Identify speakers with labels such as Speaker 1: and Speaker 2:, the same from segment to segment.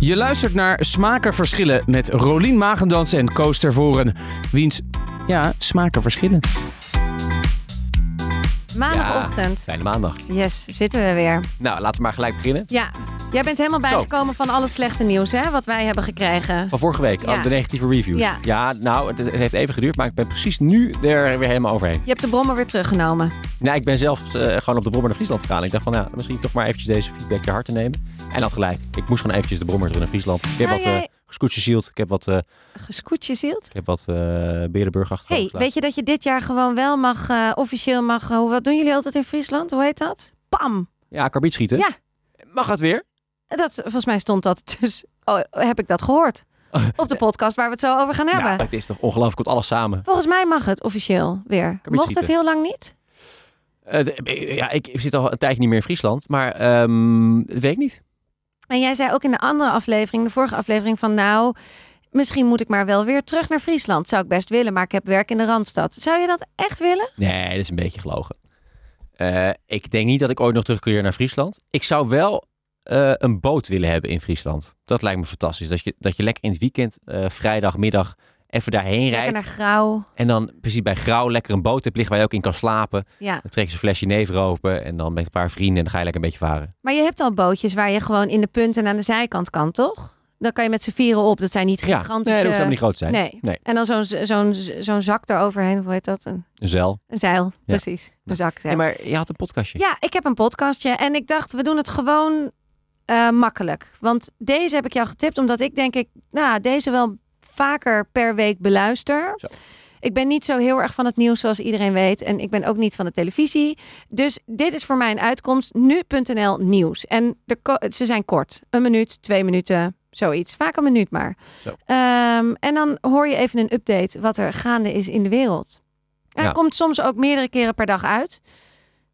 Speaker 1: Je luistert naar Smaken Verschillen met Rolien Magendans en Koos Tervoren. Wiens, ja, smaken verschillen.
Speaker 2: Maandagochtend.
Speaker 3: Fijne maandag.
Speaker 2: Yes, zitten we weer.
Speaker 3: Nou, laten we maar gelijk beginnen.
Speaker 2: Ja, jij bent helemaal bijgekomen van al het slechte nieuws hè, wat wij hebben gekregen.
Speaker 3: Van vorige week,
Speaker 2: Ja.
Speaker 3: oh, de negatieve reviews.
Speaker 2: Ja.
Speaker 3: nou, het, het heeft even geduurd, maar ik ben precies nu er weer helemaal overheen.
Speaker 2: Je hebt de brommer weer teruggenomen.
Speaker 3: Nou, ik ben zelf eh, gewoon op de brommer naar Friesland gegaan. Ik dacht van, nou, misschien toch maar eventjes deze feedback ter harte nemen. En had gelijk. Ik moest gewoon eventjes de brommer terug naar Friesland. Ik heb
Speaker 2: Ga
Speaker 3: wat
Speaker 2: jij-
Speaker 3: eh gescootjesield. Ik heb wat, eh
Speaker 2: Gescootje zielt.
Speaker 3: ik heb wat eh Berenburg achter
Speaker 2: hey, weet je dat je dit jaar gewoon wel mag, eh, officieel mag... eh, hoe wat doen jullie altijd in Friesland? Hoe heet dat? Pam!
Speaker 3: Ja, karbiet schieten.
Speaker 2: Ja.
Speaker 3: Mag dat weer?
Speaker 2: Dat, volgens mij stond dat dus... Oh, heb ik dat gehoord? Op de podcast waar we het zo over gaan hebben.
Speaker 3: Nou, dat is toch ongelooflijk. Komt alles samen.
Speaker 2: Volgens mij mag het officieel weer.
Speaker 3: Kan
Speaker 2: Mocht het
Speaker 3: schieten.
Speaker 2: heel lang niet?
Speaker 3: Eh, de- ja, ik zit al een tijdje niet meer in Friesland, maar ehm dat weet ik niet.
Speaker 2: En jij zei ook in de andere aflevering, de vorige aflevering, van nou, misschien moet ik maar wel weer terug naar Friesland. Zou ik best willen, maar ik heb werk in de Randstad. Zou je dat echt willen?
Speaker 3: Nee, dat is een beetje gelogen. Eh, ik denk niet dat ik ooit nog terugkeer naar Friesland. Ik zou wel eh, een boot willen hebben in Friesland. Dat lijkt me fantastisch. Dat je, dat je lekker in het weekend, eh, vrijdagmiddag, even daarheen
Speaker 2: Lekker
Speaker 3: rijdt.
Speaker 2: naar Grauw.
Speaker 3: En dan precies bij Grauw lekker een boot hebt liggen waar je ook in kan slapen.
Speaker 2: Ja.
Speaker 3: Dan trek je een flesje never open en dan met een paar vrienden en dan ga je lekker een beetje varen.
Speaker 2: Maar je hebt al bootjes waar je gewoon in de punt en aan de zijkant kan, toch? Dan kan je met z'n vieren op. Dat zijn niet
Speaker 3: Ja, nee, dat hoeft
Speaker 2: gigantische...
Speaker 3: helemaal niet groot te zijn.
Speaker 2: Nee.
Speaker 3: Nee.
Speaker 2: En dan zo'n zo'n zo'n zak eroverheen. Hoe heet dat? Een,
Speaker 3: Een zeil.
Speaker 2: een zeil. Precies. Een zak. zeil.
Speaker 3: Nee, maar je had een podcastje.
Speaker 2: Ja, ik heb een podcastje en ik dacht, we doen het gewoon eh, makkelijk. Want deze heb ik jou getipt, omdat ik denk ik, nou, deze wel vaker per week beluister.
Speaker 3: Zo.
Speaker 2: Ik ben niet zo heel erg van het nieuws, zoals iedereen weet. En ik ben ook niet van de televisie. Dus dit is voor mij een uitkomst. Nu.nl nieuws. En de ko- ze zijn kort. Een minuut, twee minuten, zoiets. Vaak een minuut maar.
Speaker 3: Zo.
Speaker 2: Ehm, en dan hoor je even een update wat er gaande is in de wereld. En
Speaker 3: Ja.
Speaker 2: het komt soms ook meerdere keren per dag uit.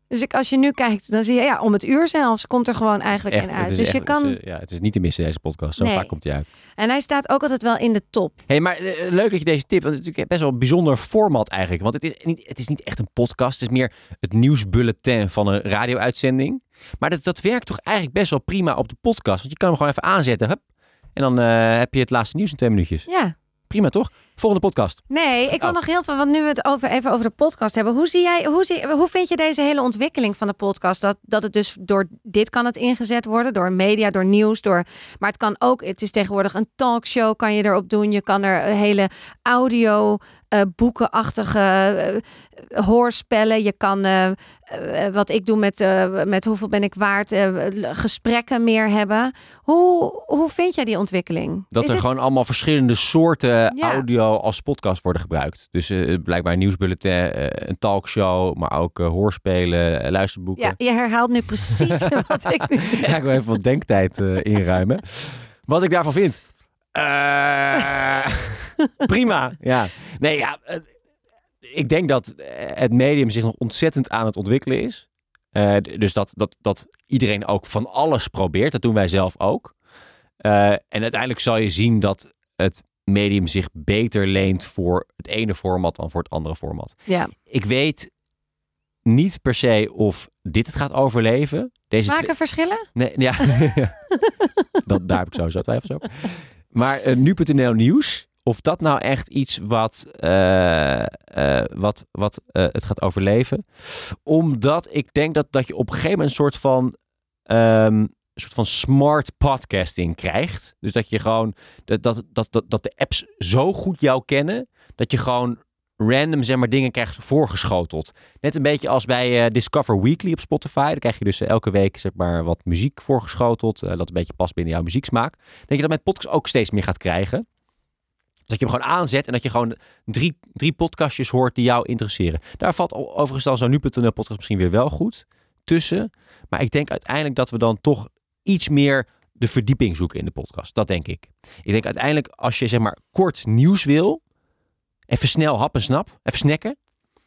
Speaker 2: Dus ik, als je nu kijkt, dan zie je ja, om het uur zelfs komt er gewoon eigenlijk
Speaker 3: Echt,
Speaker 2: in
Speaker 3: het
Speaker 2: uit.
Speaker 3: is
Speaker 2: Dus
Speaker 3: echt-
Speaker 2: je kan.
Speaker 3: het is, eh, ja, het is niet te missen deze podcast. Zo
Speaker 2: Nee.
Speaker 3: vaak komt hij uit.
Speaker 2: En hij staat ook altijd wel in de top.
Speaker 3: Hey, maar eh, leuk dat je deze tip. Want het is natuurlijk best wel een bijzonder format eigenlijk. Want het is niet, het is niet echt een podcast. Het is meer het nieuwsbulletin van een radio-uitzending. Maar dat, dat werkt toch eigenlijk best wel prima op de podcast. Want je kan hem gewoon even aanzetten. Hup, en dan eh, heb je het laatste nieuws in twee minuutjes.
Speaker 2: Ja.
Speaker 3: Prima toch? Volgende podcast.
Speaker 2: Nee, ik wil
Speaker 3: Oh.
Speaker 2: nog heel veel. Want nu we het over, even over de podcast hebben. Hoe, zie jij, hoe, zie, hoe vind je deze hele ontwikkeling van de podcast? Dat, dat het dus door dit kan het ingezet worden, door media, door nieuws. Door, maar het kan ook, het is tegenwoordig een talkshow, kan je erop doen. Je kan er eh, hele audio, eh, boekenachtige eh, hoorspellen. Je kan, eh, eh, wat ik doe met, eh, met hoeveel ben ik waard, eh, gesprekken meer hebben. Hoe, hoe vind jij die ontwikkeling?
Speaker 3: Dat
Speaker 2: Is
Speaker 3: er
Speaker 2: het-
Speaker 3: gewoon allemaal verschillende soorten
Speaker 2: Ja.
Speaker 3: audio als podcast worden gebruikt. Dus eh, blijkbaar een nieuwsbulletin, eh, een talkshow, maar ook eh, hoorspelen, eh, luisterboeken.
Speaker 2: Ja, je herhaalt nu precies wat ik nu zeg.
Speaker 3: Ja, ik wil even wat denktijd eh, inruimen. Wat ik daarvan vind. Eh, prima. Ja. Nee, ja. eh, ik denk dat eh, het medium zich nog ontzettend aan het ontwikkelen is. Eh, d- dus dat, dat, dat iedereen ook van alles probeert. Dat doen wij zelf ook. Eh, en uiteindelijk zal je zien dat het medium zich beter leent voor het ene format dan voor het andere format.
Speaker 2: Ja.
Speaker 3: Ik weet niet per se of dit het gaat overleven. Deze twee-
Speaker 2: Maken verschillen?
Speaker 3: Nee, ja. dat, daar heb ik sowieso twijfels over. Maar eh, nu.nl nieuws, of dat nou echt iets wat, eh, eh, wat, wat eh, het gaat overleven. Omdat ik denk dat, dat je op een gegeven moment een soort van, ehm, een soort van smart podcasting krijgt. Dus dat je gewoon, dat, dat, dat, dat, dat de apps zo goed jou kennen, dat je gewoon random zeg maar, dingen krijgt voorgeschoteld. Net een beetje als bij eh, Discover Weekly op Spotify. Dan krijg je dus eh, elke week zeg maar, wat muziek voorgeschoteld. eh, dat een beetje past binnen jouw muzieksmaak. Dan Denk je dat met podcasts ook steeds meer gaat krijgen. Dat je hem gewoon aanzet en dat je gewoon drie, drie podcastjes hoort die jou interesseren. Daar valt o- overigens dan zo'n nu.nl podcast misschien weer wel goed tussen. Maar ik denk uiteindelijk dat we dan toch iets meer de verdieping zoeken in de podcast. Dat denk ik. Ik denk uiteindelijk als je zeg maar kort nieuws wil, even snel hap en snap, even snacken.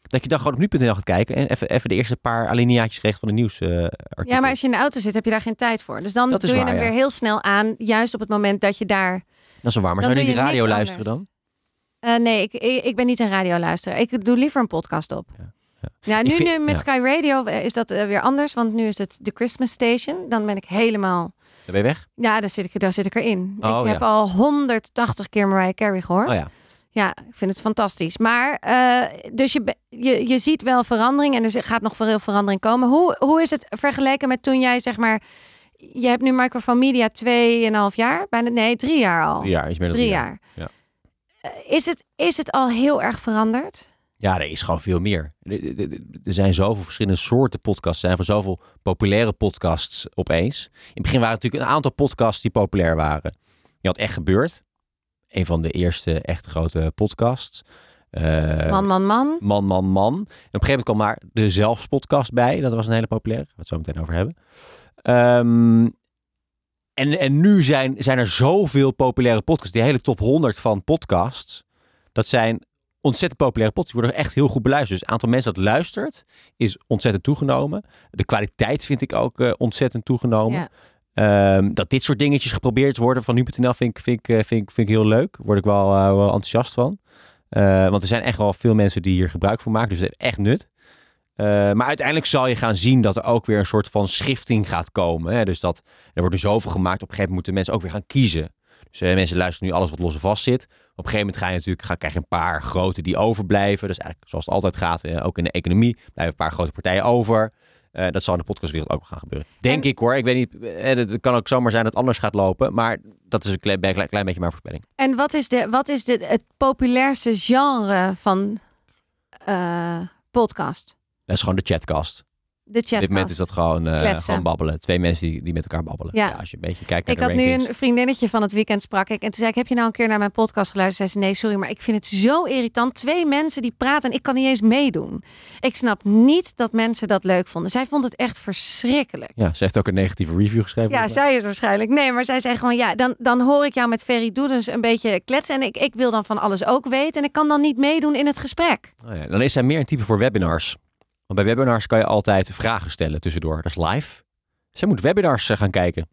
Speaker 3: Dat je dan gewoon op nu.nl gaat kijken en even, even de eerste paar alineaatjes krijgt van de nieuwsartikel.
Speaker 2: Ja, maar als je in de auto zit, heb je daar geen tijd voor. Dus dan
Speaker 3: Dat
Speaker 2: doe
Speaker 3: is
Speaker 2: je
Speaker 3: waar,
Speaker 2: hem
Speaker 3: ja.
Speaker 2: weer heel snel aan, juist op het moment dat je daar...
Speaker 3: Dat is wel waar. Maar
Speaker 2: Dan
Speaker 3: zou je
Speaker 2: doe
Speaker 3: niet de
Speaker 2: je
Speaker 3: radio
Speaker 2: niks
Speaker 3: luisteren
Speaker 2: anders.
Speaker 3: dan?
Speaker 2: Eh, nee, ik, ik, ik ben niet een radioluisteraar. Ik doe liever een podcast op.
Speaker 3: Ja.
Speaker 2: Nou,
Speaker 3: Ik
Speaker 2: nu,
Speaker 3: vind-
Speaker 2: nu met
Speaker 3: ja.
Speaker 2: Sky Radio eh, is dat eh, weer anders, want nu is het de Christmas Station. Dan ben ik helemaal...
Speaker 3: Dan ben je weg?
Speaker 2: Ja, daar zit ik, daar zit ik erin.
Speaker 3: Oh,
Speaker 2: ik
Speaker 3: ja.
Speaker 2: heb al 180 keer Mariah Carey gehoord.
Speaker 3: Oh ja.
Speaker 2: Ja, ik vind het fantastisch. Maar eh, dus je, be- je, je ziet wel verandering en er gaat nog veel verandering komen. Hoe, hoe is het vergeleken met toen jij zeg maar. Je hebt nu Microphone Media 2,5 jaar, bijna nee, drie jaar al.
Speaker 3: Drie jaar. Iets meer dan
Speaker 2: Drie
Speaker 3: drie
Speaker 2: jaar.
Speaker 3: Ja.
Speaker 2: Eh, Is het, is het al heel erg veranderd?
Speaker 3: Ja, er is gewoon veel meer. Er- Er er- er zijn zoveel verschillende soorten podcasts. Er zijn voor zoveel populaire podcasts opeens. In het begin waren er natuurlijk een aantal podcasts die populair waren. Je had Echt Gebeurd. Een van de eerste echt grote podcasts. Eh,
Speaker 2: Man, man, man.
Speaker 3: Man, man, man. En op een gegeven moment kwam maar de zelfspodcast bij. Dat was een hele populaire. Daar gaan we het zo meteen over hebben. Ehm, en, en nu zijn, zijn er zoveel populaire podcasts. Die hele top 100 van podcasts. Dat zijn ontzettend populaire podcasts. Die worden echt heel goed beluisterd. Dus het aantal mensen dat luistert is ontzettend toegenomen. De kwaliteit vind ik ook eh, ontzettend toegenomen.
Speaker 2: Ja.
Speaker 3: Ehm, dat dit soort dingetjes geprobeerd worden van nu.nl vind ik, vind, ik, eh, vind, ik- vind ik heel leuk. Word ik wel, eh, wel enthousiast van. Eh, want er zijn echt wel veel mensen die hier gebruik van maken. Dus het heeft echt nut. Eh, maar uiteindelijk zal je gaan zien dat er ook weer een soort van schifting gaat komen. Hè? Dus dat er wordt er zoveel gemaakt. Op een gegeven moment moeten mensen ook weer gaan kiezen. Dus eh, mensen luisteren nu alles wat los en vast zit. Op een gegeven moment ga je natuurlijk, ga, krijg je een paar grote die overblijven. Dus eigenlijk zoals het altijd gaat, eh, ook in de economie, blijven een paar grote partijen over. Eh, dat zal in de podcastwereld ook wel gaan gebeuren. Denk
Speaker 2: En-
Speaker 3: ik hoor. Ik weet niet. eh, Het kan ook zomaar zijn dat het anders gaat lopen. Maar dat is een klein, klein, klein beetje mijn voorspelling.
Speaker 2: En wat is, de, wat is de, het populairste genre van eh, podcast?
Speaker 3: Dat is gewoon de chatcast.
Speaker 2: De chat.
Speaker 3: Op dit moment is dat gewoon, eh,
Speaker 2: Kletsen.
Speaker 3: gewoon babbelen. Twee mensen die, die met elkaar babbelen. Ja.
Speaker 2: Ja.
Speaker 3: als je een beetje kijkt naar
Speaker 2: Ik
Speaker 3: de
Speaker 2: had nu
Speaker 3: rankings.
Speaker 2: een vriendinnetje van het weekend sprak ik. En toen zei ik, heb je nou een keer naar mijn podcast geluisterd? Zei ze, nee, sorry, maar ik vind het zo irritant. Twee mensen die praten en ik kan niet eens meedoen. Ik snap niet dat mensen dat leuk vonden. Zij vond het echt verschrikkelijk.
Speaker 3: Ja, ze heeft ook een negatieve review geschreven. Oh
Speaker 2: Ja,
Speaker 3: volgens mij.
Speaker 2: zij is waarschijnlijk. Nee, maar zij zei gewoon, ja, dan, dan hoor ik jou met Ferry Doedens een beetje kletsen. En ik, ik wil dan van alles ook weten. En ik kan dan niet meedoen in het gesprek.
Speaker 3: Oh ja, Dan is zij meer een type voor webinars. Want bij webinars kan je altijd vragen stellen tussendoor. Dat is live. Zij moet webinars eh, gaan kijken.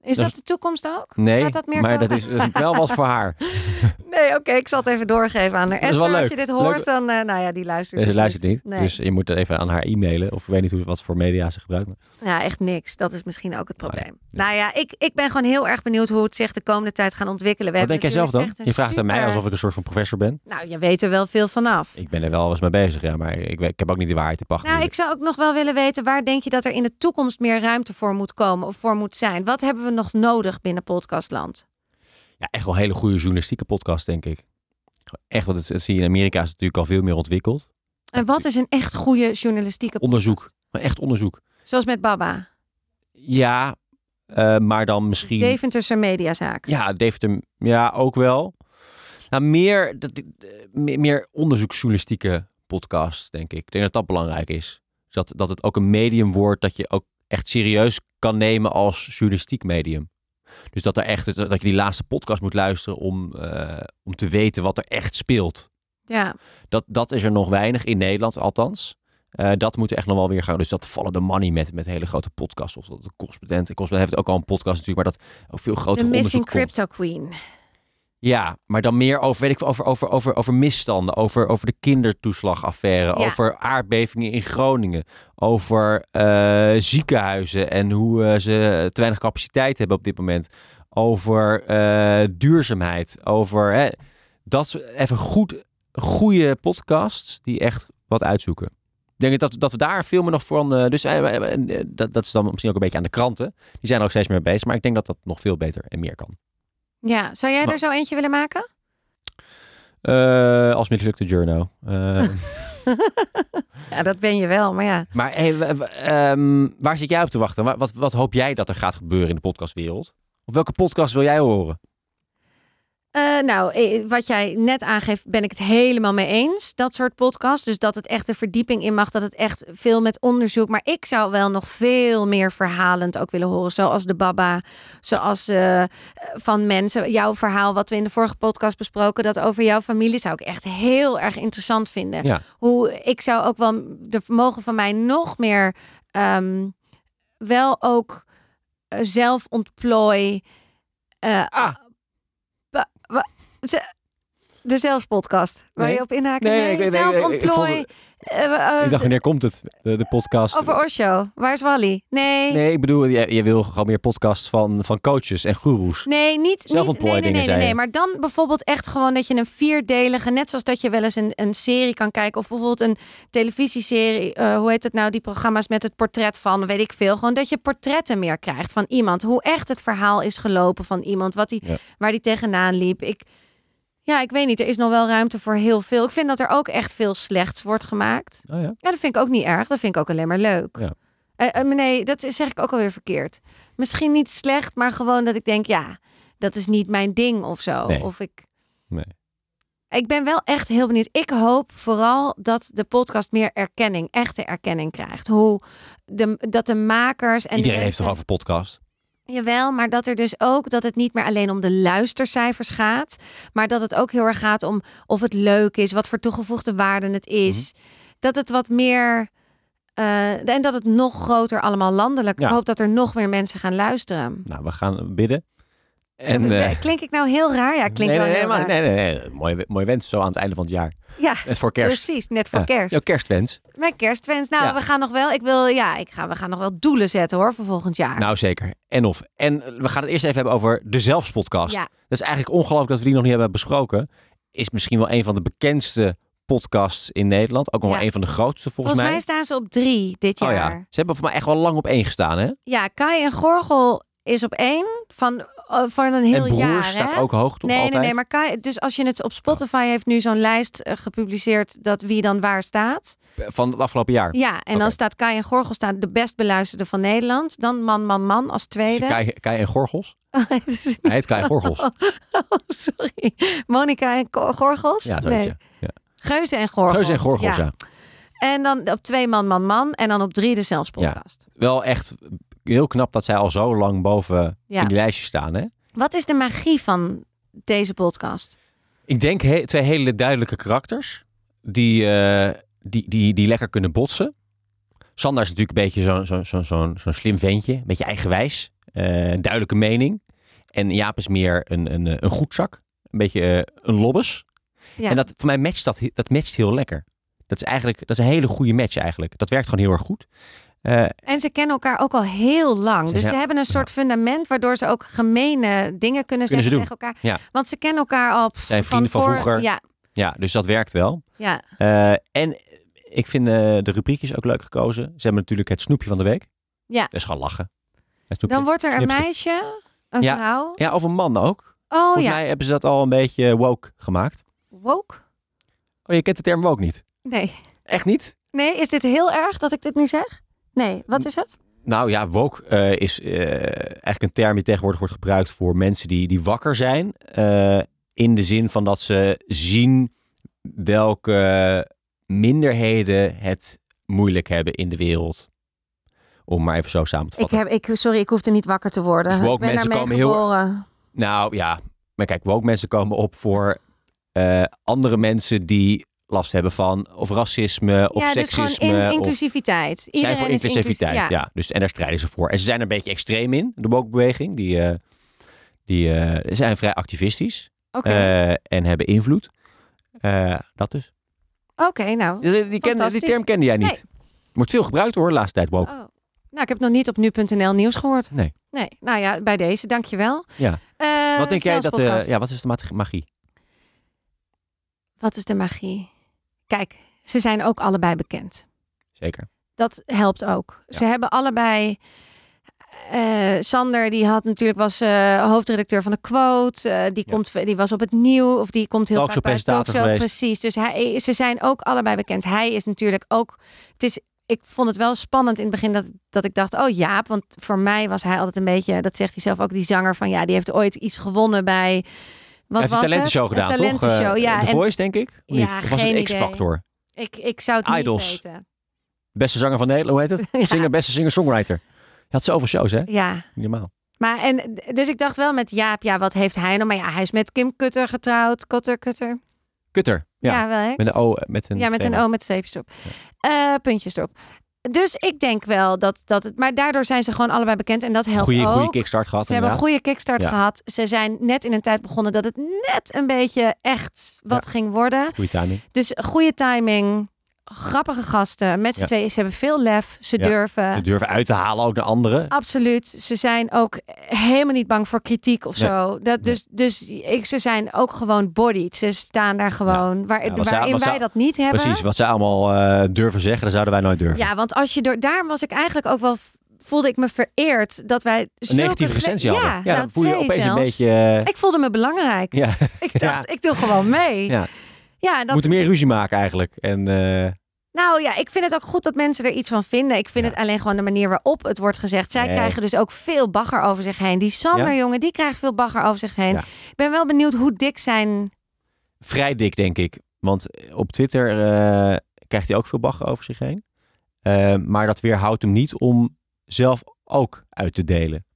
Speaker 2: Is
Speaker 3: Dat
Speaker 2: dat,
Speaker 3: is-
Speaker 2: de toekomst ook?
Speaker 3: Nee,
Speaker 2: Gaat dat meer
Speaker 3: maar
Speaker 2: komen?
Speaker 3: dat is, dat is wel wat voor haar.
Speaker 2: Nee, oké, ik zal het even doorgeven aan haar.
Speaker 3: Dat is wel
Speaker 2: Esther, als je
Speaker 3: leuk.
Speaker 2: dit
Speaker 3: Leuk.
Speaker 2: hoort, dan, eh, nou ja, die luistert
Speaker 3: Nee, ze
Speaker 2: dus
Speaker 3: luistert niet.
Speaker 2: Nee.
Speaker 3: Dus je moet het even aan haar e-mailen. Of ik weet niet hoe, wat voor media ze gebruikt. maar-
Speaker 2: Ja, echt niks. Dat is misschien ook het probleem.
Speaker 3: Oh ja.
Speaker 2: Nou ja, ik, ik ben gewoon heel erg benieuwd hoe het zich de komende tijd gaan ontwikkelen. We
Speaker 3: Wat denk jij
Speaker 2: hebben
Speaker 3: zelf dan?
Speaker 2: natuurlijk echt
Speaker 3: Je
Speaker 2: een
Speaker 3: vraagt aan mij
Speaker 2: super-
Speaker 3: alsof ik een soort van professor ben.
Speaker 2: Nou, je weet er wel veel vanaf.
Speaker 3: Ik ben er wel eens mee bezig, ja. Maar ik, weet- ik heb ook niet de waarheid te pakken.
Speaker 2: Nou, ik zou ook nog wel willen weten... waar denk je dat er in de toekomst meer ruimte voor moet komen... of voor moet zijn? Wat hebben we nog nodig binnen podcastland?
Speaker 3: ja, echt wel hele goede journalistieke podcast, denk ik. Echt, want het, het zie je in Amerika is het natuurlijk al veel meer ontwikkeld.
Speaker 2: En wat is een echt goede journalistieke...
Speaker 3: Onderzoek. Maar echt onderzoek.
Speaker 2: Zoals met Baba.
Speaker 3: Ja, eh, maar dan misschien...
Speaker 2: Deventerse Mediazaak.
Speaker 3: Ja, Deventer, ja, ook wel. Nou, meer, dat, eh, meer, meer onderzoeksjournalistieke podcast, denk ik. Ik denk dat dat belangrijk is. Dus dat, dat het ook een medium wordt dat je ook echt serieus kan nemen als journalistiek medium. Dus dat, er echt, dat je die laatste podcast moet luisteren om, eh, om te weten wat er echt speelt.
Speaker 2: Ja.
Speaker 3: Dat, dat is er nog weinig in Nederland, althans. Eh, dat moet er echt nog wel weer gaan. Dus dat vallen de money met, met hele grote podcasts. Of dat de correspondent. De correspondent heeft ook al een podcast natuurlijk, maar dat ook veel
Speaker 2: De
Speaker 3: groter onderzoek
Speaker 2: Missing
Speaker 3: komt.
Speaker 2: Crypto Queen.
Speaker 3: Ja, maar dan meer over, weet ik, veel, over, over, over, over misstanden, over, over de kindertoeslagaffaire,
Speaker 2: Ja.
Speaker 3: over aardbevingen in Groningen, over eh, ziekenhuizen en hoe eh, ze te weinig capaciteit hebben op dit moment, over eh, duurzaamheid, over hè, dat soort- even goed, goede podcasts die echt wat uitzoeken. Ik denk dat, dat we daar veel meer nog voor aan. eh, dus eh, eh, eh, dat, dat is dan misschien ook een beetje aan de kranten. Die zijn er ook steeds meer mee bezig. Maar ik denk dat dat nog veel beter en meer kan.
Speaker 2: Ja, zou jij
Speaker 3: Maar-
Speaker 2: er zo eentje willen maken?
Speaker 3: Eh, als mislukte journo. Eh,
Speaker 2: Ja, dat ben je wel, maar ja.
Speaker 3: maar hey, w- w- ehm, waar zit jij op te wachten? Wa- Wat, wat hoop jij dat er gaat gebeuren in de podcastwereld? Of welke podcast wil jij horen?
Speaker 2: Eh, nou, eh, wat jij net aangeeft, ben ik het helemaal mee eens. Dat soort podcast. Dus dat het echt de verdieping in mag. Dat het echt veel met onderzoek. Maar ik zou wel nog veel meer verhalend ook willen horen. Zoals de Baba. Zoals eh, eh, van mensen. Jouw verhaal, wat we in de vorige podcast besproken. Dat over jouw familie zou ik echt heel erg interessant vinden.
Speaker 3: Ja.
Speaker 2: Hoe ik zou ook wel de vermogen van mij nog meer. ehm, wel ook eh, zelf ontplooi. eh,
Speaker 3: Ah.
Speaker 2: wa- wa- ze- de zelfpodcast waar
Speaker 3: Nee.
Speaker 2: je op inhaakt.
Speaker 3: Nee,
Speaker 2: Nee,
Speaker 3: ik- ik- ik- ik- ik
Speaker 2: zelf
Speaker 3: vond
Speaker 2: ontplooi.
Speaker 3: het-
Speaker 2: eh, eh,
Speaker 3: ik dacht, wanneer komt het? De, de podcast.
Speaker 2: over Osho. Waar is Wally? Nee. Nee,
Speaker 3: Nee, ik bedoel, je, je wil gewoon meer podcasts van, van coaches en goeroes.
Speaker 2: niet. niet nee,
Speaker 3: Zelfontplooiingen
Speaker 2: nee, nee, nee,
Speaker 3: zei je.
Speaker 2: nee. Maar dan bijvoorbeeld echt gewoon dat je een vierdelige, net zoals dat je wel eens een, een serie kan kijken. Of bijvoorbeeld een televisieserie. eh, hoe heet het nou? Die programma's met het portret van, weet ik veel. Gewoon dat je portretten meer krijgt van iemand. Hoe echt het verhaal is gelopen van iemand. Wat die,
Speaker 3: Ja.
Speaker 2: Waar die tegenaan liep. Ik, ja, ik weet niet. Er is nog wel ruimte voor heel veel. Ik vind dat er ook echt veel slechts wordt gemaakt.
Speaker 3: Oh ja.
Speaker 2: Ja, dat vind ik ook niet erg. Dat vind ik ook alleen maar leuk.
Speaker 3: Ja.
Speaker 2: Eh, eh, maar nee, dat is- zeg ik ook alweer verkeerd. Misschien niet slecht, maar gewoon dat ik denk, ja, dat is niet mijn ding of zo.
Speaker 3: Nee.
Speaker 2: Of ik.
Speaker 3: Nee.
Speaker 2: Ik ben wel echt heel benieuwd. Ik hoop vooral dat de podcast meer erkenning, echte erkenning krijgt. Hoe de, dat de makers en de
Speaker 3: Iedereen heeft
Speaker 2: mensen-
Speaker 3: toch over podcast?
Speaker 2: Jawel, maar dat er dus ook dat het niet meer alleen om de luistercijfers gaat, maar dat het ook heel erg gaat om of het leuk is, wat voor toegevoegde waarde het is.
Speaker 3: Mhm.
Speaker 2: Dat het wat meer eh, en dat het nog groter allemaal landelijk.
Speaker 3: Ja.
Speaker 2: Ik hoop dat er nog meer mensen gaan luisteren.
Speaker 3: Nou, we gaan bidden. En, eh,
Speaker 2: Klink ik nou heel raar? Ja,
Speaker 3: nee,
Speaker 2: klink
Speaker 3: nee,
Speaker 2: wel
Speaker 3: nee,
Speaker 2: heel
Speaker 3: maar-
Speaker 2: raar.
Speaker 3: nee, nee, nee. Mooie, mooie wens zo aan het einde van het jaar.
Speaker 2: Ja,
Speaker 3: Net voor kerst.
Speaker 2: precies, net voor
Speaker 3: Ja.
Speaker 2: kerst.
Speaker 3: Jouw kerstwens.
Speaker 2: Mijn kerstwens. Nou,
Speaker 3: Ja.
Speaker 2: we gaan nog wel. Ik wil, ja, ik ga, we gaan nog wel doelen zetten hoor voor volgend jaar.
Speaker 3: Nou, zeker. En of. En eh, we gaan het eerst even hebben over de Zelfspodcast.
Speaker 2: Ja.
Speaker 3: Dat is eigenlijk ongelooflijk dat we die nog niet hebben besproken. Is misschien wel een van de bekendste podcasts in Nederland. Ook nog
Speaker 2: Ja.
Speaker 3: wel een van de grootste, volgens,
Speaker 2: Volgens mij staan ze op drie dit jaar.
Speaker 3: Oh ja. Ze hebben voor mij echt wel lang op één gestaan, hè?
Speaker 2: Ja, Kai en Gorgel is op één van, eh, van een heel
Speaker 3: en Broers
Speaker 2: jaar.
Speaker 3: staat
Speaker 2: hè?
Speaker 3: ook hoog, toch?
Speaker 2: nee,
Speaker 3: Altijd.
Speaker 2: nee, nee, maar Kai, dus als je het op Spotify heeft nu zo'n lijst eh, gepubliceerd dat wie dan waar staat.
Speaker 3: Van het afgelopen jaar.
Speaker 2: Ja, en
Speaker 3: Oké.
Speaker 2: dan staat Kai en Gorgel staan de best beluisterde van Nederland. Dan Man, Man, Man als
Speaker 3: Is
Speaker 2: tweede.
Speaker 3: het Kai, Kai en Gorgels?
Speaker 2: Het is-
Speaker 3: Hij heet Kai Gorgels.
Speaker 2: oh, sorry. Monica en Ko- Gorgels?
Speaker 3: Ja, zo heet
Speaker 2: nee.
Speaker 3: je. Ja.
Speaker 2: Geuze en Gorgels.
Speaker 3: Geus en Gorgels,
Speaker 2: Ja.
Speaker 3: ja.
Speaker 2: En dan op twee Man, Man, Man. En dan op drie de Zelfspodcast.
Speaker 3: Wel echt heel knap dat zij al zo lang boven
Speaker 2: Ja.
Speaker 3: in die lijstjes staan, hè?
Speaker 2: Wat is de magie van deze podcast?
Speaker 3: Ik denk he- twee hele duidelijke karakters die, eh, die, die, die lekker kunnen botsen. Sander is natuurlijk een beetje zo'n zo, zo, zo'n zo'n slim ventje, een beetje eigenwijs, eh, duidelijke mening. En Jaap is meer een, een, eh, een goedzak, een beetje eh, een lobbes.
Speaker 2: Ja.
Speaker 3: En dat, voor mij matcht dat, he- dat matcht heel lekker. Dat is eigenlijk dat is een hele goede match eigenlijk. Dat werkt gewoon heel erg goed. Eh,
Speaker 2: En ze kennen elkaar ook al heel lang.
Speaker 3: Ze
Speaker 2: dus
Speaker 3: zijn-
Speaker 2: ze hebben een soort fundament waardoor ze ook gemene dingen kunnen zeggen
Speaker 3: ze doen.
Speaker 2: tegen elkaar.
Speaker 3: Ja.
Speaker 2: Want ze kennen elkaar al pff,
Speaker 3: Zijn vrienden van
Speaker 2: voor-
Speaker 3: vroeger.
Speaker 2: Ja,
Speaker 3: ja, dus dat werkt wel.
Speaker 2: ja.
Speaker 3: Eh, en ik vind eh, de rubriekjes ook leuk gekozen. Ze hebben natuurlijk het snoepje van de week.
Speaker 2: Ja.
Speaker 3: Dat is gewoon lachen. Het snoepje.
Speaker 2: Dan wordt er een
Speaker 3: Knipsel.
Speaker 2: meisje, een
Speaker 3: Ja.
Speaker 2: vrouw.
Speaker 3: Ja, of een man ook.
Speaker 2: Oh
Speaker 3: Volgens
Speaker 2: ja,
Speaker 3: mij hebben ze dat al een beetje eh, woke gemaakt.
Speaker 2: woke?
Speaker 3: Oh, je kent de term woke niet.
Speaker 2: Nee.
Speaker 3: Echt niet?
Speaker 2: Nee, is dit heel erg dat ik dit nu zeg? Nee, wat is het?
Speaker 3: Nou ja, woke eh, is eh, eigenlijk een term die tegenwoordig wordt gebruikt voor mensen die, die wakker zijn. Eh, in de zin van dat ze zien welke minderheden het moeilijk hebben in de wereld. Om maar even zo samen te
Speaker 2: Ik
Speaker 3: vatten.
Speaker 2: heb, ik, sorry, ik hoefde niet wakker te worden.
Speaker 3: Dus woke
Speaker 2: ik ben
Speaker 3: mensen
Speaker 2: daarmee
Speaker 3: komen heel-
Speaker 2: geboren.
Speaker 3: Nou ja, maar kijk, woke mensen komen op voor eh, andere mensen die last hebben van of racisme of
Speaker 2: ja, dus
Speaker 3: seksisme.
Speaker 2: gewoon in,
Speaker 3: of
Speaker 2: inclusiviteit.
Speaker 3: zijn
Speaker 2: Iedereen
Speaker 3: voor
Speaker 2: is inclusief.
Speaker 3: inclusiviteit.
Speaker 2: Ja.
Speaker 3: ja. dus, en daar strijden ze voor. En ze zijn er een beetje extreem in, de woke beweging. Die, eh, die eh, zijn vrij activistisch
Speaker 2: Oké,
Speaker 3: eh, en hebben invloed. Eh, dat dus.
Speaker 2: Oké, nou.
Speaker 3: Die, die, kende- die
Speaker 2: Fantastisch.
Speaker 3: term kende jij niet. Wordt veel gebruikt hoor, de laatste tijd woke.
Speaker 2: Oh. Nou, ik heb nog niet op nu.nl nieuws gehoord.
Speaker 3: Nee.
Speaker 2: Nee, nou ja, bij deze, dankjewel.
Speaker 3: Ja.
Speaker 2: Eh,
Speaker 3: wat denk jij dat... eh,
Speaker 2: zelfspodcast.
Speaker 3: ja, wat is de mat- magie?
Speaker 2: Wat is de magie? Kijk, ze zijn ook allebei bekend.
Speaker 3: Zeker.
Speaker 2: Dat helpt ook. Ze hebben allebei... eh, Sander, die had natuurlijk was eh, hoofdredacteur van de Quote. Eh, die,
Speaker 3: Ja.
Speaker 2: komt, die was op het nieuw. Of die komt heel vaak bij het
Speaker 3: Talkshow-presentator
Speaker 2: talkshow.
Speaker 3: geweest.
Speaker 2: Precies. Dus hij, ze zijn ook allebei bekend. Hij is natuurlijk ook. Het is, ik vond het wel spannend in het begin dat, dat ik dacht, oh Jaap, want voor mij was hij altijd een beetje, dat zegt hij zelf ook, die zanger van ja, die heeft ooit iets gewonnen bij. Wat
Speaker 3: Hij heeft
Speaker 2: was
Speaker 3: een talentenshow
Speaker 2: het?
Speaker 3: gedaan,
Speaker 2: een
Speaker 3: toch?
Speaker 2: talentenshow,
Speaker 3: Eh,
Speaker 2: ja.
Speaker 3: The
Speaker 2: En
Speaker 3: Voice, denk ik? Of
Speaker 2: Ja,
Speaker 3: niet? Of was
Speaker 2: geen
Speaker 3: het
Speaker 2: idee.
Speaker 3: X-Factor?
Speaker 2: ik, ik zou het
Speaker 3: Idols.
Speaker 2: niet weten.
Speaker 3: Beste zanger van Nederland, hoe heet het?
Speaker 2: Ja.
Speaker 3: Singer, beste singer-songwriter. Je had zoveel shows, hè? Niet
Speaker 2: Ja.
Speaker 3: normaal.
Speaker 2: Maar en, dus ik dacht wel met Jaap, ja, wat heeft hij nou? Maar ja, hij is met Kim Kutter getrouwd. Kutter, Kutter.
Speaker 3: Kutter. Ja,
Speaker 2: Ja, wel hè?
Speaker 3: met een O. eh, Met een
Speaker 2: ja, met een
Speaker 3: tweede.
Speaker 2: O met streepjes erop. Eh, puntjes erop. Dus ik denk wel dat, dat het... Maar daardoor zijn ze gewoon allebei bekend en dat helpt
Speaker 3: Goeie,
Speaker 2: ook.
Speaker 3: goeie kickstart gehad,
Speaker 2: Ze hebben een
Speaker 3: inderdaad.
Speaker 2: goede kickstart
Speaker 3: Ja.
Speaker 2: gehad. Ze zijn net in een tijd begonnen dat het net een beetje echt wat ging worden.
Speaker 3: Goeie timing.
Speaker 2: Dus goede timing, grappige gasten. Met z'n
Speaker 3: Ja.
Speaker 2: tweeën. Ze hebben veel lef. Ze
Speaker 3: Ja.
Speaker 2: durven.
Speaker 3: Ze durven uit te halen ook naar anderen.
Speaker 2: Absoluut. Ze zijn ook helemaal niet bang voor kritiek of
Speaker 3: Nee.
Speaker 2: zo. Dat, dus dus ik, ze zijn ook gewoon bodied. Ze staan daar gewoon. Waar,
Speaker 3: Ja, wat zou-
Speaker 2: waarin
Speaker 3: wat zou-
Speaker 2: wij dat niet hebben.
Speaker 3: Precies, wat zij allemaal eh, durven zeggen, dat zouden wij nooit durven.
Speaker 2: Ja, want als je door daar was ik eigenlijk ook wel voelde ik me vereerd dat wij
Speaker 3: een
Speaker 2: zulke
Speaker 3: negatieve
Speaker 2: sle-
Speaker 3: recensie
Speaker 2: ja,
Speaker 3: hadden.
Speaker 2: nou,
Speaker 3: dan voel je
Speaker 2: twee
Speaker 3: opeens
Speaker 2: zelfs.
Speaker 3: een beetje... eh,
Speaker 2: Ik voelde me belangrijk.
Speaker 3: ja,
Speaker 2: Ik dacht, ik doe gewoon mee.
Speaker 3: Ja.
Speaker 2: Ja,
Speaker 3: we
Speaker 2: dat,
Speaker 3: moeten meer ruzie maken eigenlijk. En eh,
Speaker 2: nou ja, ik vind het ook goed dat mensen er iets van vinden. Ik vind
Speaker 3: Ja.
Speaker 2: het alleen gewoon de manier waarop het wordt gezegd. Zij
Speaker 3: Nee.
Speaker 2: krijgen dus ook veel bagger over zich heen. Die Sander,
Speaker 3: Ja.
Speaker 2: jongen, die krijgt veel bagger over zich heen.
Speaker 3: Ja.
Speaker 2: Ik ben wel benieuwd hoe dik zijn...
Speaker 3: vrij dik, denk ik. Want op Twitter eh, krijgt hij ook veel bagger over zich heen. Eh, maar dat weerhoudt hem niet om zelf ook uit te delen.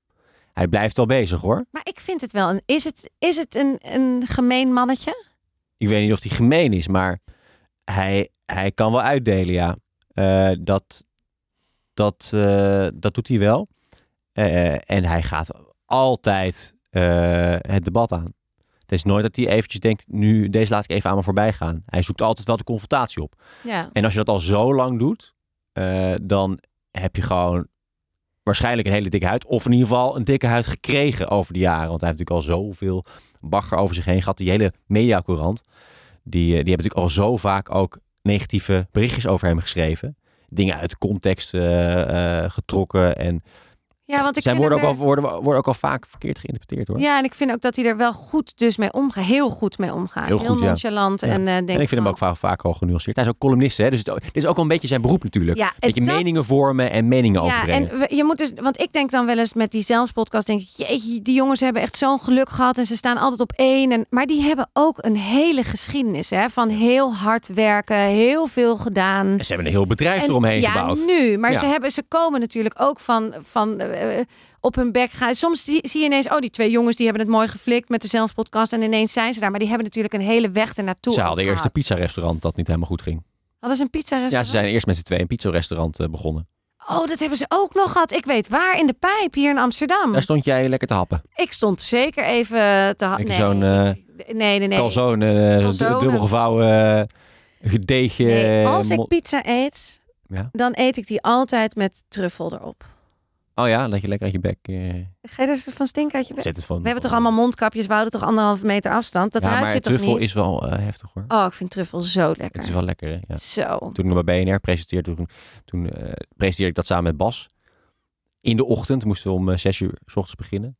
Speaker 3: Hij blijft al bezig hoor.
Speaker 2: Maar ik vind het wel. Een, is het, is het een, een gemeen mannetje?
Speaker 3: Ik weet niet of hij gemeen is, maar hij, hij kan wel uitdelen, ja. Eh, dat, dat, eh, dat doet hij wel. Eh, en hij gaat altijd eh, het debat aan. Het is nooit dat hij eventjes denkt, nu, deze laat ik even aan me voorbij gaan. Hij zoekt altijd wel de confrontatie op.
Speaker 2: Ja.
Speaker 3: En als je dat al zo lang doet, eh, dan heb je gewoon waarschijnlijk een hele dikke huid. Of in ieder geval een dikke huid gekregen over de jaren. Want hij heeft natuurlijk al zoveel bagger over zich heen gehad. Die hele mediacourant, die, eh, die hebben natuurlijk al zo vaak ook negatieve berichtjes over hem geschreven. Dingen uit context eh, eh, getrokken. En
Speaker 2: Ja, want ik
Speaker 3: zij
Speaker 2: vind
Speaker 3: worden ook,
Speaker 2: hem er-
Speaker 3: al, worden, worden ook al vaak verkeerd geïnterpreteerd hoor.
Speaker 2: Ja, en ik vind ook dat hij er wel goed dus mee omgaat. Heel goed mee omgaat.
Speaker 3: Heel
Speaker 2: Heel,
Speaker 3: goed, ja.
Speaker 2: nonchalant.
Speaker 3: Ja.
Speaker 2: En, eh, denk
Speaker 3: en ik vind hem
Speaker 2: van-
Speaker 3: ook vaak, vaak al genuanceerd. Hij is ook columnist, hè? dus het, dit is ook wel een beetje zijn beroep natuurlijk.
Speaker 2: Ja,
Speaker 3: dat je
Speaker 2: dat-
Speaker 3: meningen vormen en meningen
Speaker 2: Ja,
Speaker 3: overbrengen.
Speaker 2: en we- je moet dus, want ik denk dan wel eens met die zelfspodcast, denk ik, jeetje, die jongens hebben echt zo'n geluk gehad en ze staan altijd op één. En, maar die hebben ook een hele geschiedenis hè, van heel hard werken, heel veel gedaan.
Speaker 3: En Ze hebben een heel bedrijf
Speaker 2: En-
Speaker 3: eromheen
Speaker 2: ja,
Speaker 3: gebouwd.
Speaker 2: nu. Maar
Speaker 3: Ja.
Speaker 2: ze, hebben, ze komen natuurlijk ook van, van eh, op hun bek gaan. Soms zie, zie je ineens, oh, die twee jongens die hebben het mooi geflikt met de zelfspodcast. En ineens zijn ze daar. Maar die hebben natuurlijk een hele weg ernaartoe.
Speaker 3: Ze hadden
Speaker 2: ook
Speaker 3: eerst een
Speaker 2: gehad.
Speaker 3: pizzarestaurant dat niet helemaal goed ging.
Speaker 2: Hadden ze een pizza
Speaker 3: Ja, ze zijn eerst met z'n tweeën een pizzarestaurant eh, begonnen.
Speaker 2: Oh, dat hebben ze ook nog gehad. Ik weet waar, in de pijp hier in Amsterdam.
Speaker 3: Daar stond jij lekker te happen.
Speaker 2: Ik stond zeker even te ha-
Speaker 3: Lekker
Speaker 2: nee.
Speaker 3: zo'n, eh,
Speaker 2: nee, nee, nee.
Speaker 3: Calzone, eh,
Speaker 2: Calzone.
Speaker 3: du- dubbel gevouwen, eh, gedeegje. eh,
Speaker 2: Nee, Als
Speaker 3: mo-
Speaker 2: ik pizza eet,
Speaker 3: Ja?
Speaker 2: dan eet ik die altijd met truffel erop.
Speaker 3: Oh ja, dat je lekker uit je bek eh,
Speaker 2: Ga je er van stinken uit je bek?
Speaker 3: zet het van.
Speaker 2: We hebben toch allemaal mondkapjes, we houden toch anderhalve meter afstand? Dat
Speaker 3: ja,
Speaker 2: ruik
Speaker 3: maar
Speaker 2: je toch
Speaker 3: truffel
Speaker 2: niet?
Speaker 3: is wel eh, heftig hoor.
Speaker 2: Oh, ik vind truffel zo lekker.
Speaker 3: Het is wel lekker, hè? Ja.
Speaker 2: Zo.
Speaker 3: Toen ik bij BNR presenteerde, toen, toen eh, presenteerde ik dat samen met Bas. In de ochtend moesten we om eh, zes uur s ochtends beginnen.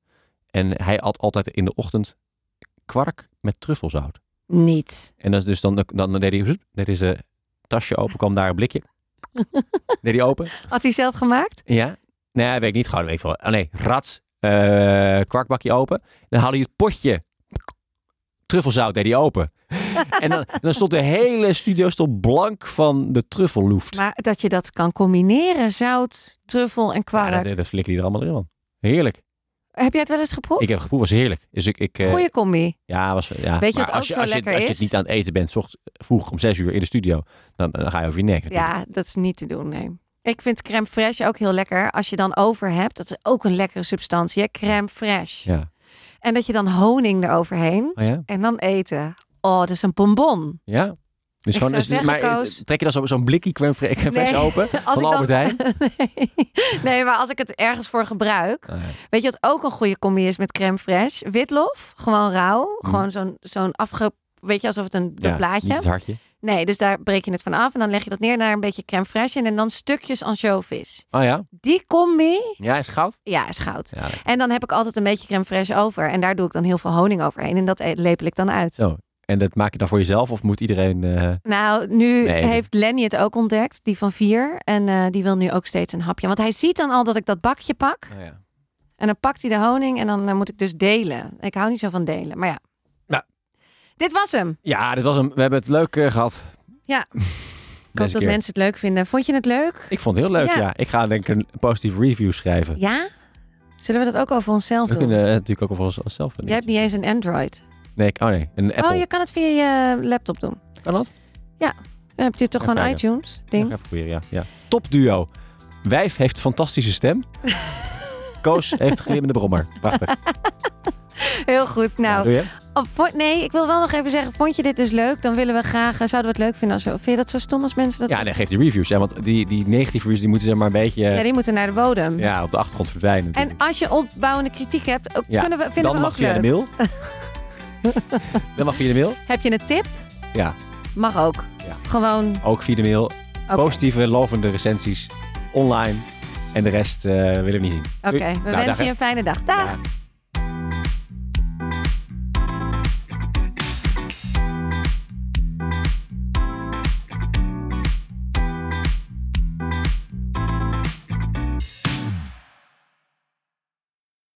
Speaker 3: En hij at altijd in de ochtend kwark met truffelzout.
Speaker 2: Niet.
Speaker 3: En dat is dus dan, dan, dan deed hij, hup, deed hij zijn tasje open, kwam daar een blikje. deed hij open.
Speaker 2: Had hij zelf gemaakt?
Speaker 3: Ja. Nee, weet ik niet. Gewoon, weet ik veel. Oh nee, rats. eh, kwarkbakje open. Dan haalde hij het potje. Truffelzout deed hij open. en dan, dan stond de hele studio stond blank van de truffelloeft.
Speaker 2: Maar dat je dat kan combineren, zout, truffel en
Speaker 3: Ja,
Speaker 2: kwark.
Speaker 3: dat, dat flikkerde hij er allemaal in, man. Heerlijk.
Speaker 2: Heb jij het wel eens geproefd?
Speaker 3: Ik heb het gevoel, was heerlijk. Dus ik, ik eh,
Speaker 2: Goeie combi.
Speaker 3: ja, was, ja.
Speaker 2: Weet je
Speaker 3: Maar
Speaker 2: wat
Speaker 3: als
Speaker 2: ook
Speaker 3: je,
Speaker 2: zo
Speaker 3: als je,
Speaker 2: lekker
Speaker 3: als je
Speaker 2: is?
Speaker 3: het niet aan het eten bent, 's ochtends vroeg om zes uur in de studio, dan, dan ga je over je nek. natuurlijk.
Speaker 2: Ja, dat is niet te doen, nee. Ik vind crème fraîche ook heel lekker. Als je dan over hebt, dat is ook een lekkere substantie, hè? crème fraîche.
Speaker 3: Ja.
Speaker 2: En dat je dan honing eroverheen
Speaker 3: Oh ja?
Speaker 2: en dan eten. Oh, dat is een bonbon.
Speaker 3: Ja. Dus
Speaker 2: Ik
Speaker 3: gewoon,
Speaker 2: zou
Speaker 3: is het-
Speaker 2: zeggen,
Speaker 3: maar
Speaker 2: Koos-
Speaker 3: is- trek je dan zo- zo'n blikkie crème fra- crème fraîche
Speaker 2: Nee,
Speaker 3: open van
Speaker 2: ik
Speaker 3: Albert
Speaker 2: dan-
Speaker 3: Heijn?
Speaker 2: nee. nee, maar als ik het ergens voor gebruik.
Speaker 3: Ah, ja.
Speaker 2: Weet je wat ook een goede combi is met crème fraîche? Witlof, gewoon rauw. Gewoon zo'n zo'n afge... Weet je, alsof het een, een
Speaker 3: Mm. Ja,
Speaker 2: plaatje...
Speaker 3: Niet het hartje.
Speaker 2: Nee, dus daar breek je het van af en dan leg je dat neer naar een beetje crème fraîche in en dan stukjes anchovies.
Speaker 3: Oh ja?
Speaker 2: Die combi,
Speaker 3: Ja, is goud?
Speaker 2: ja, is goud.
Speaker 3: Ja.
Speaker 2: En dan heb ik altijd een beetje crème fraîche over. En daar doe ik dan heel veel honing overheen. En dat e- lepel ik dan uit.
Speaker 3: Zo. En dat maak je dan voor jezelf of moet iedereen... eh,
Speaker 2: Nou, nu
Speaker 3: Nee, dat-
Speaker 2: heeft Lenny het ook ontdekt. Die van vier. En eh, die wil nu ook steeds een hapje. Want hij ziet dan al dat ik dat bakje pak.
Speaker 3: nou ja.
Speaker 2: En dan pakt hij de honing. En dan eh, moet ik dus delen. Ik hou niet zo van delen. Maar ja.
Speaker 3: Nou.
Speaker 2: Dit was hem.
Speaker 3: ja, dit was hem. We hebben het leuk eh, gehad.
Speaker 2: Ja. Ik hoop
Speaker 3: Deze
Speaker 2: dat
Speaker 3: keer.
Speaker 2: mensen het leuk vinden. Vond je het leuk?
Speaker 3: Ik vond het heel leuk, ja.
Speaker 2: Ja.
Speaker 3: Ik ga denk ik een positieve review schrijven.
Speaker 2: Ja? Zullen we dat ook over onszelf
Speaker 3: We
Speaker 2: doen?
Speaker 3: kunnen eh, natuurlijk ook over ons- onszelf
Speaker 2: Jij
Speaker 3: doen.
Speaker 2: hebt niet eens een Android.
Speaker 3: Nee, ik- oh nee, een Apple.
Speaker 2: Oh, je kan het via je laptop doen.
Speaker 3: Kan dat?
Speaker 2: Dan heb je toch
Speaker 3: Even
Speaker 2: gewoon
Speaker 3: kijken.
Speaker 2: iTunes?
Speaker 3: Ik
Speaker 2: Ding.
Speaker 3: ga even proberen, ja. ja. Top duo. Wijf
Speaker 2: Nou.
Speaker 3: heeft fantastische stem. Koos heeft glimmende brommer. Prachtig.
Speaker 2: Heel goed.
Speaker 3: Ja,
Speaker 2: Nou,
Speaker 3: doe je?
Speaker 2: oh, vo- nee, ik wil wel nog even zeggen, vond je dit dus leuk? Dan willen we graag, eh, zouden we het leuk vinden als we... Vind je dat zo stom als mensen dat...
Speaker 3: Ja, nee, geef die reviews. Hè, want die, die negatieve reviews die moeten ze maar een beetje eh,
Speaker 2: Ja,
Speaker 3: ja,
Speaker 2: die moeten naar de bodem.
Speaker 3: op de achtergrond
Speaker 2: En
Speaker 3: verdwijnen. natuurlijk.
Speaker 2: als je opbouwende kritiek hebt, ook
Speaker 3: Ja,
Speaker 2: kunnen we, vinden
Speaker 3: Dan
Speaker 2: we
Speaker 3: mag
Speaker 2: ook
Speaker 3: via
Speaker 2: leuk.
Speaker 3: de mail. Dan mag via de mail.
Speaker 2: Heb je een tip?
Speaker 3: Ja,
Speaker 2: Mag ook.
Speaker 3: Ja.
Speaker 2: Gewoon.
Speaker 3: ook via de mail.
Speaker 2: Oké,
Speaker 3: Positieve, lovende recensies online. En de rest eh, willen we niet zien.
Speaker 2: Oké, we wensen je een fijne dag. Dag!
Speaker 3: Ja.